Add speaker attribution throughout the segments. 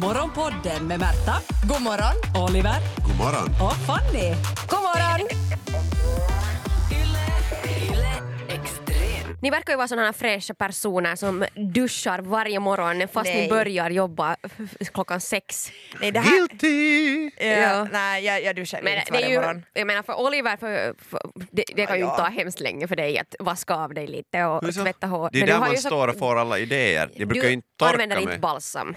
Speaker 1: Morgonpodden med Märta,
Speaker 2: God morgon!
Speaker 1: Oliver
Speaker 3: God morgon.
Speaker 1: och Fanny.
Speaker 2: God morgon!
Speaker 4: Ni verkar ju vara sådana här fräscha personer som duschar varje morgon fast
Speaker 2: Nej.
Speaker 4: ni börjar jobba klockan sex.
Speaker 2: Nej, det här...
Speaker 3: Guilty!
Speaker 4: Eh,
Speaker 2: Ja, Nej, jag, jag duschar
Speaker 4: Men
Speaker 2: inte
Speaker 4: det är
Speaker 2: varje
Speaker 4: ju,
Speaker 2: morgon.
Speaker 4: jag menar för Oliver, för, för, det, det kan ju
Speaker 2: Ja,
Speaker 4: inte
Speaker 2: ja.
Speaker 4: ta hemskt länge för dig att vaska av dig lite och
Speaker 3: Hur så?
Speaker 4: tvätta hår.
Speaker 5: Det är
Speaker 4: Men du
Speaker 5: där
Speaker 4: har
Speaker 5: man
Speaker 4: ju så-
Speaker 5: står och får alla idéer. Jag brukar
Speaker 4: du
Speaker 5: ju inte torka
Speaker 4: använder
Speaker 5: mig.
Speaker 4: inte balsam.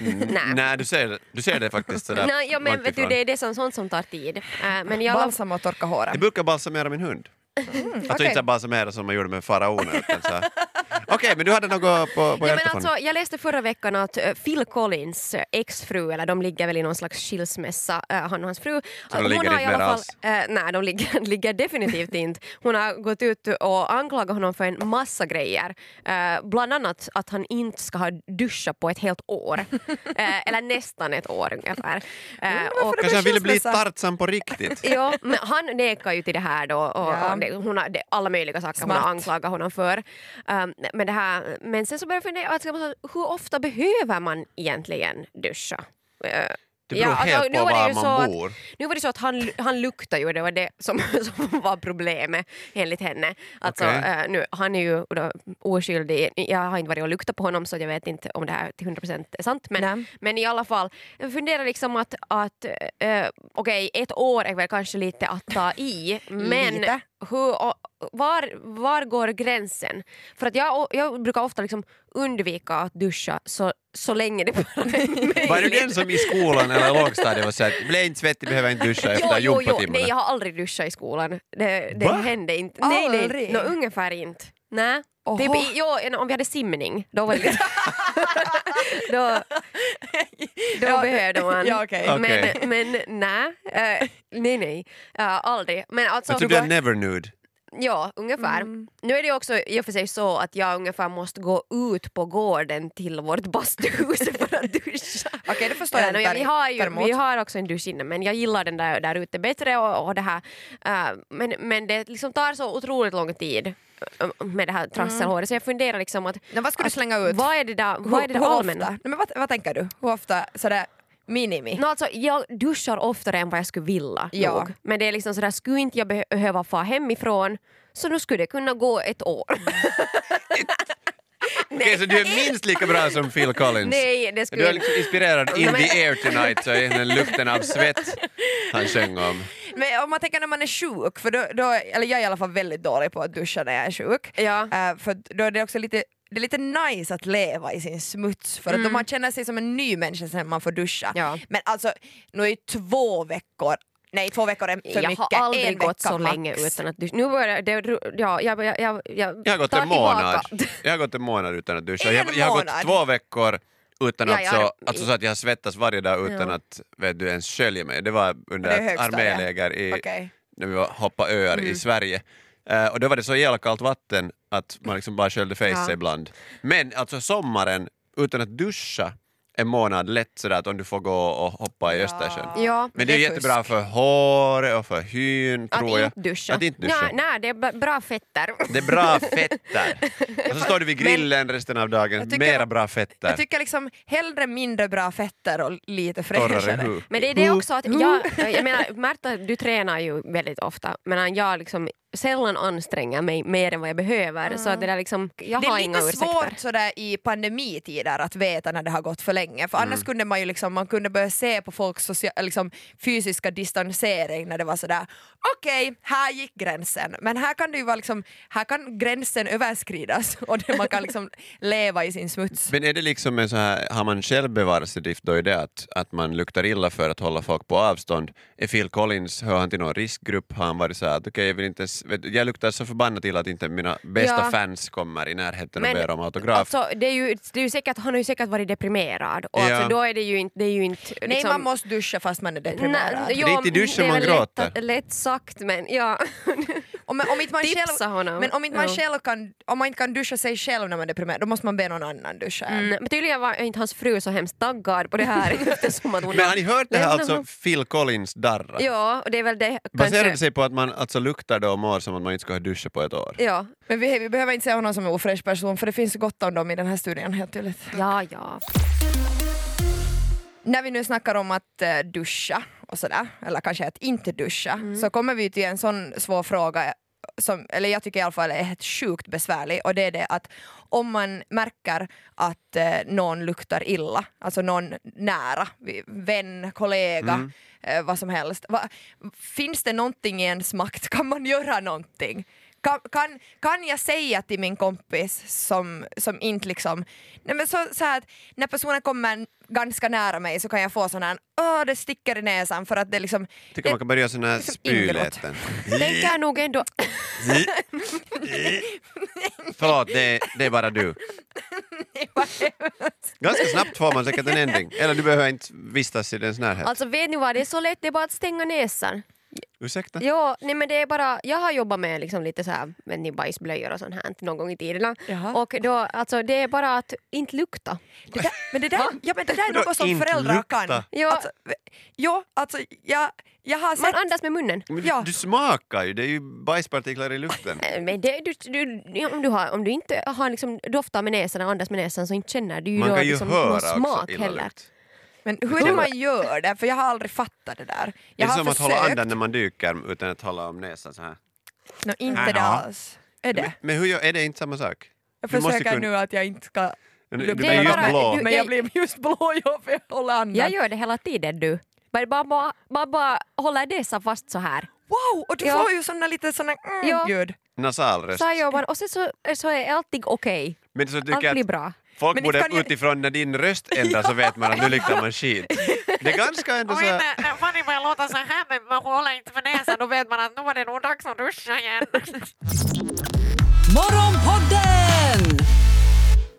Speaker 5: Mm, Nej, du ser, du ser det faktiskt sådär
Speaker 4: Nej, ja, men
Speaker 5: långt
Speaker 4: vet du,
Speaker 5: ifrån.
Speaker 4: det är det som, sånt som tar tid. Äh, men jag,
Speaker 2: Balsam och torka håret.
Speaker 5: Jag brukar balsamera min hund.
Speaker 4: Mm,
Speaker 5: alltså
Speaker 2: okej.
Speaker 5: inte så här balsamera som man gjorde med faraonen. utan så här- Okej, men du hade något på, på
Speaker 4: Ja,
Speaker 5: hjärtat?
Speaker 4: men
Speaker 5: Fanny?
Speaker 4: alltså, jag läste förra veckan att eh, Phil Collins eh, exfru, eller de ligger väl i någon slags skilsmässa, eh, han och hans fru.
Speaker 5: Så de
Speaker 4: Hon
Speaker 5: ligger
Speaker 4: har
Speaker 5: inte
Speaker 4: i
Speaker 5: mer
Speaker 4: alla fall,
Speaker 5: alls?
Speaker 4: eh, Nej, de ligger, ligger definitivt inte. Hon har gått ut och anklagat honom för en massa grejer. Eh, bland annat att han inte ska ha duschat på ett helt år. Eh, eller nästan ett år ungefär. Eh, och-
Speaker 5: Kanske han ville bli
Speaker 2: skilsmässa.
Speaker 5: Tarzan på riktigt?
Speaker 4: Ja, men han nekar ju till det här då och
Speaker 2: Ja.
Speaker 4: och det, hon har, det, alla möjliga saker hon
Speaker 2: Smart.
Speaker 4: har anklagat honom för. Um, men, det här, men sen så började jag fundera, alltså, hur ofta behöver man egentligen duscha? Eh,
Speaker 5: Det beror
Speaker 4: ja, alltså,
Speaker 5: helt
Speaker 4: nu
Speaker 5: på
Speaker 4: var det
Speaker 5: var
Speaker 4: ju
Speaker 5: man
Speaker 4: så att-
Speaker 5: bor.
Speaker 4: nu var det så att han, han luktar ju, det var det som, som var problemet enligt henne. Alltså,
Speaker 5: Okej.
Speaker 4: eh, nu, han är ju då oskyldig, jag har inte varit och luktat på honom så jag vet inte om det här till 100% är sant. Men,
Speaker 2: Nej.
Speaker 4: men i alla fall, jag funderar liksom att, att eh, okej ett år är väl kanske lite att ta i, men
Speaker 2: Lite.
Speaker 4: hur, och, var, var går gränsen? För att jag, jag brukar ofta liksom undvika att duscha så, så länge det bara är möjligt.
Speaker 5: Var det den som i skolan eller lågstadiet var såhär, bli inte svettig, behöver inte duscha efter
Speaker 4: Nej, jag
Speaker 5: gympatimmarna?
Speaker 4: har aldrig duschat i skolan. Det, det
Speaker 5: Va?
Speaker 4: hände inte. Nej, nej,
Speaker 2: Aldrig?
Speaker 4: no, ungefär inte. Nej.
Speaker 2: Oho.
Speaker 4: Typ, i- jo, en- om vi hade simning, då var det lite... då, då
Speaker 2: Ja,
Speaker 4: behövde man.
Speaker 2: ja, okej.
Speaker 5: Okej.
Speaker 4: Men, men nej, eh, nej, nej, Eh, aldrig. Men alltså,
Speaker 5: Jag tror du är never nude.
Speaker 4: Ja, ungefär.
Speaker 2: Mm.
Speaker 4: Nu är det ju också i och för sig så att jag ungefär måste gå ut på gården till vårt bastuhus för att duscha.
Speaker 2: Okej, det förstår jag
Speaker 4: Eller,
Speaker 2: inte
Speaker 4: vi, har ju,
Speaker 2: däremot.
Speaker 4: vi har också en dusch inne men jag gillar den där, där ute bättre och, och det här. Äh, men, men det liksom tar så otroligt lång tid äh, med det här trasselhåret så jag funderar liksom att
Speaker 2: Mm. Men vad ska du slänga ut?
Speaker 4: vad är det där, vad är det
Speaker 2: Hur- hur
Speaker 4: där allmänna?
Speaker 2: ofta? Nej, men vad, vad tänker du? Hur ofta sådär minimi?
Speaker 4: No, alltså, jag duschar oftare än vad jag skulle vilja.
Speaker 2: Ja.
Speaker 4: Nog. Men det är liksom sådär, skulle inte jag beh- behöva fara hemifrån så nu skulle det kunna gå ett år.
Speaker 5: Okej, så du är minst lika bra som Phil Collins?
Speaker 4: Nej, det skulle
Speaker 5: Du är liksom inspirerad in
Speaker 4: Nej, men-
Speaker 5: the air tonight, så är den lukten av svett han sjöng om.
Speaker 2: Men om man tänker när man är sjuk, för då, då, eller jag är i alla fall väldigt dålig på att duscha när jag är sjuk.
Speaker 4: Ja.
Speaker 2: Eh, för att då är det också lite det är lite nice att leva i sin smuts för att då man känner sig som en ny människa sen man får duscha.
Speaker 4: Mm. Ja.
Speaker 2: Men alltså, nu är ju två veckor, nej två veckor är för
Speaker 4: jag
Speaker 2: mycket.
Speaker 4: har aldrig
Speaker 2: en
Speaker 4: gått
Speaker 2: vecka
Speaker 4: så
Speaker 2: max.
Speaker 4: länge utan att duscha. Nu börjar det... Ja, jag, jag, jag, jag,
Speaker 5: Jag har gått
Speaker 4: tar
Speaker 5: en månad.
Speaker 4: tillbaka.
Speaker 5: Jag har gått en månad utan att duscha.
Speaker 2: En
Speaker 5: Jag, jag har gått
Speaker 2: månad?
Speaker 5: två veckor utan
Speaker 4: Ja,
Speaker 5: att,
Speaker 4: jag
Speaker 5: så,
Speaker 4: har-
Speaker 5: alltså så att jag har svettats varje dag utan
Speaker 4: Ja.
Speaker 5: att vet du, ens skölja mig. Det var under
Speaker 2: Det är
Speaker 5: ett
Speaker 2: högstadiet.
Speaker 5: arméläger i,
Speaker 2: Okej.
Speaker 5: när vi var hoppa öar
Speaker 4: Mm.
Speaker 5: i Sverige. Eh, och då var det så jävla kallt vatten att man liksom bara sköljde face
Speaker 4: Ja.
Speaker 5: ibland. Men alltså sommaren, utan att duscha en månad lätt sådär att om du får gå och hoppa i Östersjön.
Speaker 4: Ja,
Speaker 5: Men det är
Speaker 2: det är
Speaker 5: jättebra
Speaker 2: fusk.
Speaker 5: för håret och för hyn
Speaker 4: Att
Speaker 5: tror jag.
Speaker 4: inte duscha.
Speaker 5: Att inte duscha.
Speaker 4: Nej, nej, det är b- bra fetter.
Speaker 5: Det är bra fett där. Och så står du vid grillen resten av dagen,
Speaker 2: Jag tycker-
Speaker 5: mera bra fett
Speaker 2: Jag
Speaker 5: där.
Speaker 2: tycker liksom hellre mindre bra fetter och lite
Speaker 5: Torrare
Speaker 2: fräschare.
Speaker 5: hu.
Speaker 4: Men det är
Speaker 5: Mm.
Speaker 4: det också att jag, jag menar, Märta du tränar ju väldigt ofta men jag liksom sällan anstränger mig mer än vad jag behöver så att det där liksom, jag
Speaker 2: Det
Speaker 4: har
Speaker 2: är
Speaker 4: inga
Speaker 2: lite
Speaker 4: ursäkter.
Speaker 2: svårt sådär i pandemitider att veta när det har gått för länge för
Speaker 4: Mm.
Speaker 2: annars kunde man ju liksom, man kunde börja se på folks socia- liksom, fysiska distansering när det var sådär okej, här gick gränsen men här kan det ju vara liksom, här kan gränsen överskridas och det, man kan liksom leva i sin smuts.
Speaker 5: Men är det liksom en så här, har man självbevarelsedrift då i det att, att man luktar illa för att hålla folk på avstånd? Är Phil Collins, hör han till någon riskgrupp? Har han varit så här att okej, jag vill inte ens, vet, du, jag luktar så förbannat illa att inte mina bästa
Speaker 4: Ja.
Speaker 5: fans kommer i närheten
Speaker 4: Men,
Speaker 5: och ber om autograf.
Speaker 4: Alltså, det är ju, det är ju säkert, han har ju säkert varit deprimerad och alltså,
Speaker 5: Ja.
Speaker 4: då är det ju inte... Det är ju inte liksom,
Speaker 2: Nej man måste duscha fast man är deprimerad.
Speaker 4: Nej, jo,
Speaker 5: Det är inte i duschen
Speaker 4: det är
Speaker 5: man
Speaker 4: väl lätt
Speaker 5: gråter.
Speaker 4: att- Lätt sagt men ja.
Speaker 2: Om, om inte man
Speaker 4: Tipsa
Speaker 2: själv,
Speaker 4: honom.
Speaker 2: Men om inte man,
Speaker 4: Ja.
Speaker 2: själv kan, om man inte kan duscha sig själv när man är deprimerad då måste man be någon annan duscha. en.
Speaker 4: Mm, men tydligen var inte hans fru så hemskt taggad på det här eftersom att hon...
Speaker 5: Men har ni hört det här
Speaker 4: lämnat
Speaker 5: alltså,
Speaker 4: honom.
Speaker 5: Phil Collins darra?
Speaker 4: Ja, och det är väl det
Speaker 5: Baserar
Speaker 4: kanske...
Speaker 5: det sig på att man alltså luktar då och mår som att man inte ska ha duschat på ett
Speaker 2: Eh,
Speaker 5: år?
Speaker 4: Ja.
Speaker 2: Men vi, vi behöver inte se honom som en ofräsch person för det finns gott om dem i den här studien helt tydligt.
Speaker 4: ja, ja.
Speaker 2: När vi nu snackar om att eh, duscha och sådär, eller kanske att inte duscha, så kommer vi till en sån svår fråga som, eller jag tycker i alla fall är helt sjukt besvärlig och det är det att om man märker att eh, någon luktar illa, alltså någon nära, vi- vän, kollega, eh, vad som helst. Va, finns det någonting i ens makt? Kan man göra någonting? Kan, kan, kan jag säga till min kompis som, som inte liksom... Nej men så, så här att när personen kommer ganska nära mig så kan jag få sån här åh det sticker i näsan för att det liksom...
Speaker 5: Tycker man kan börja göra såna här
Speaker 2: Liksom inbrott.
Speaker 5: spyläten.
Speaker 4: Tänker nog ändå...
Speaker 5: Förlåt, det, det är bara du. Ganska snabbt får man säkert en ändring. Eller du behöver inte vistas i dens närhet.
Speaker 4: Alltså vet ni vad, det är så lätt, det är bara att stänga näsan.
Speaker 5: Ursäkta?
Speaker 4: Ja, nej men det är bara, jag har jobbat med liksom lite så här, vet ni, bajsblöjor och sånt här någon gång i tiderna.
Speaker 2: Jaha.
Speaker 4: Och då, alltså, det är bara att inte lukta.
Speaker 2: Det där, men det där, ja, men det där är
Speaker 5: Vadå,
Speaker 2: något som
Speaker 5: inte
Speaker 2: föräldrar
Speaker 5: lukta?
Speaker 2: kan.
Speaker 4: Ja.
Speaker 2: Alltså, ja, alltså jag, jag har
Speaker 4: Man
Speaker 2: sett...
Speaker 4: andas med munnen.
Speaker 5: Men du,
Speaker 2: Ja.
Speaker 5: du smakar ju, det är ju bajspartiklar i luften.
Speaker 4: Eh, Men det, du, du, ja, om, du har, om du inte har liksom doftar med näsan och andas med näsan så inte känner du ju
Speaker 5: Man
Speaker 4: då
Speaker 5: kan ju
Speaker 4: liksom
Speaker 5: höra
Speaker 4: någon
Speaker 5: också
Speaker 4: smak
Speaker 5: illa
Speaker 4: heller.
Speaker 5: lukt.
Speaker 2: Men hur är det man gör det? För jag har aldrig fattat det där.
Speaker 5: Det
Speaker 2: Jag
Speaker 5: är
Speaker 2: har
Speaker 5: som att
Speaker 2: försökt.
Speaker 5: hålla andan när man dyker utan att hålla om näsan så här.
Speaker 2: Nå, inte det
Speaker 5: Jaha.
Speaker 2: alls. Är
Speaker 5: Men,
Speaker 2: det?
Speaker 5: men hur gör, är det inte samma sak?
Speaker 2: Jag
Speaker 5: Du måste
Speaker 2: försöker
Speaker 5: kunna-
Speaker 2: nu att jag inte ska...
Speaker 5: Du, du
Speaker 2: Det
Speaker 5: blir
Speaker 2: är
Speaker 5: ju
Speaker 2: bara-
Speaker 5: blå.
Speaker 4: du-
Speaker 2: Men jag
Speaker 4: jag-
Speaker 2: blir just blå ja, för jag håller andan.
Speaker 4: Jag gör det hela tiden du. Bara, bara, bara, bara, bara håller näsan fast så här.
Speaker 2: Wow! Och du
Speaker 4: Ja.
Speaker 2: får ju såna lite såna mm,
Speaker 4: Ja.
Speaker 2: ljud.
Speaker 5: Nasalröst.
Speaker 4: Så här gör man och sen så, så är allting okej.
Speaker 5: Men så
Speaker 4: Allt
Speaker 5: tycker jag
Speaker 4: blir
Speaker 5: att
Speaker 4: bra.
Speaker 5: folk
Speaker 2: Men
Speaker 5: borde
Speaker 2: inte kan jag-
Speaker 5: utifrån när din röst ändras så vet man att nu luktar man skit. Det är ganska ändå så
Speaker 3: Och
Speaker 5: här...
Speaker 3: inte, när Fanny börjar låta så här men man håller inte för näsan, då vet man att nu var det nog dags att duscha igen.
Speaker 1: Morgonpodden!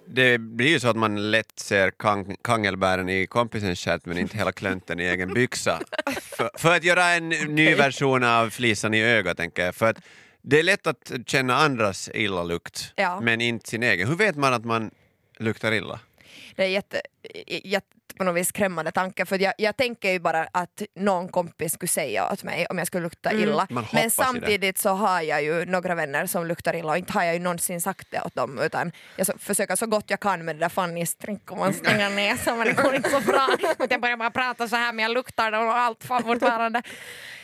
Speaker 5: Det blir ju så att man lätt ser kang- kangelbären i kompisens stjärt men inte hela klönten i egen byxa. För, för att göra en ny version av flisan i ögat tänker jag. För att det är lätt att känna andras illa lukt
Speaker 2: Ja.
Speaker 5: men inte sin egen. Hur vet man att man luktar illa?
Speaker 2: Det är jätte, jätte på något vis skrämmande tanke för jag, jag tänker ju bara att någon kompis skulle säga åt mig om jag skulle lukta illa.
Speaker 5: Man hoppas i
Speaker 2: Men
Speaker 5: det.
Speaker 2: samtidigt så har jag ju några vänner som luktar illa och inte har jag ju någonsin sagt det åt dem utan jag så, försöker så gott jag kan med det där Fannys trick och man stänger näsan men det går inte så bra. Och jag börjar bara prata så här men jag luktar och allt fan fortfarande.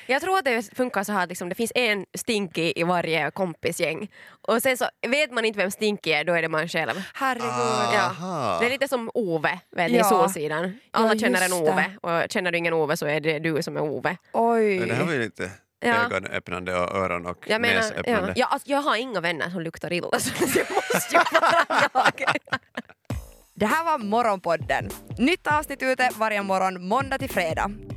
Speaker 4: Jag tror att det funkar så här att liksom, det finns en stinky i varje kompisgäng. Och sen så vet man inte vem stinky är, då är det man själv.
Speaker 5: Ah.
Speaker 2: Herregud.
Speaker 4: Ja.
Speaker 5: Aha.
Speaker 4: Det är lite som Ove, vet ni,
Speaker 2: Ja.
Speaker 4: Solsidan. Alla
Speaker 2: Ja,
Speaker 4: känner en
Speaker 2: just det.
Speaker 4: Ove och känner du ingen Ove så är det du som är Ove.
Speaker 2: Oj.
Speaker 5: Det här var ju lite
Speaker 4: Ja.
Speaker 5: ögonöppnande och öron och
Speaker 4: Jag, menar, ja.
Speaker 5: näsöppnande.
Speaker 4: jag, alltså, jag har inga vänner som luktar illa så det måste ju vara jag.
Speaker 2: Det här var Morgonpodden. Nytt avsnitt ute varje morgon måndag till fredag.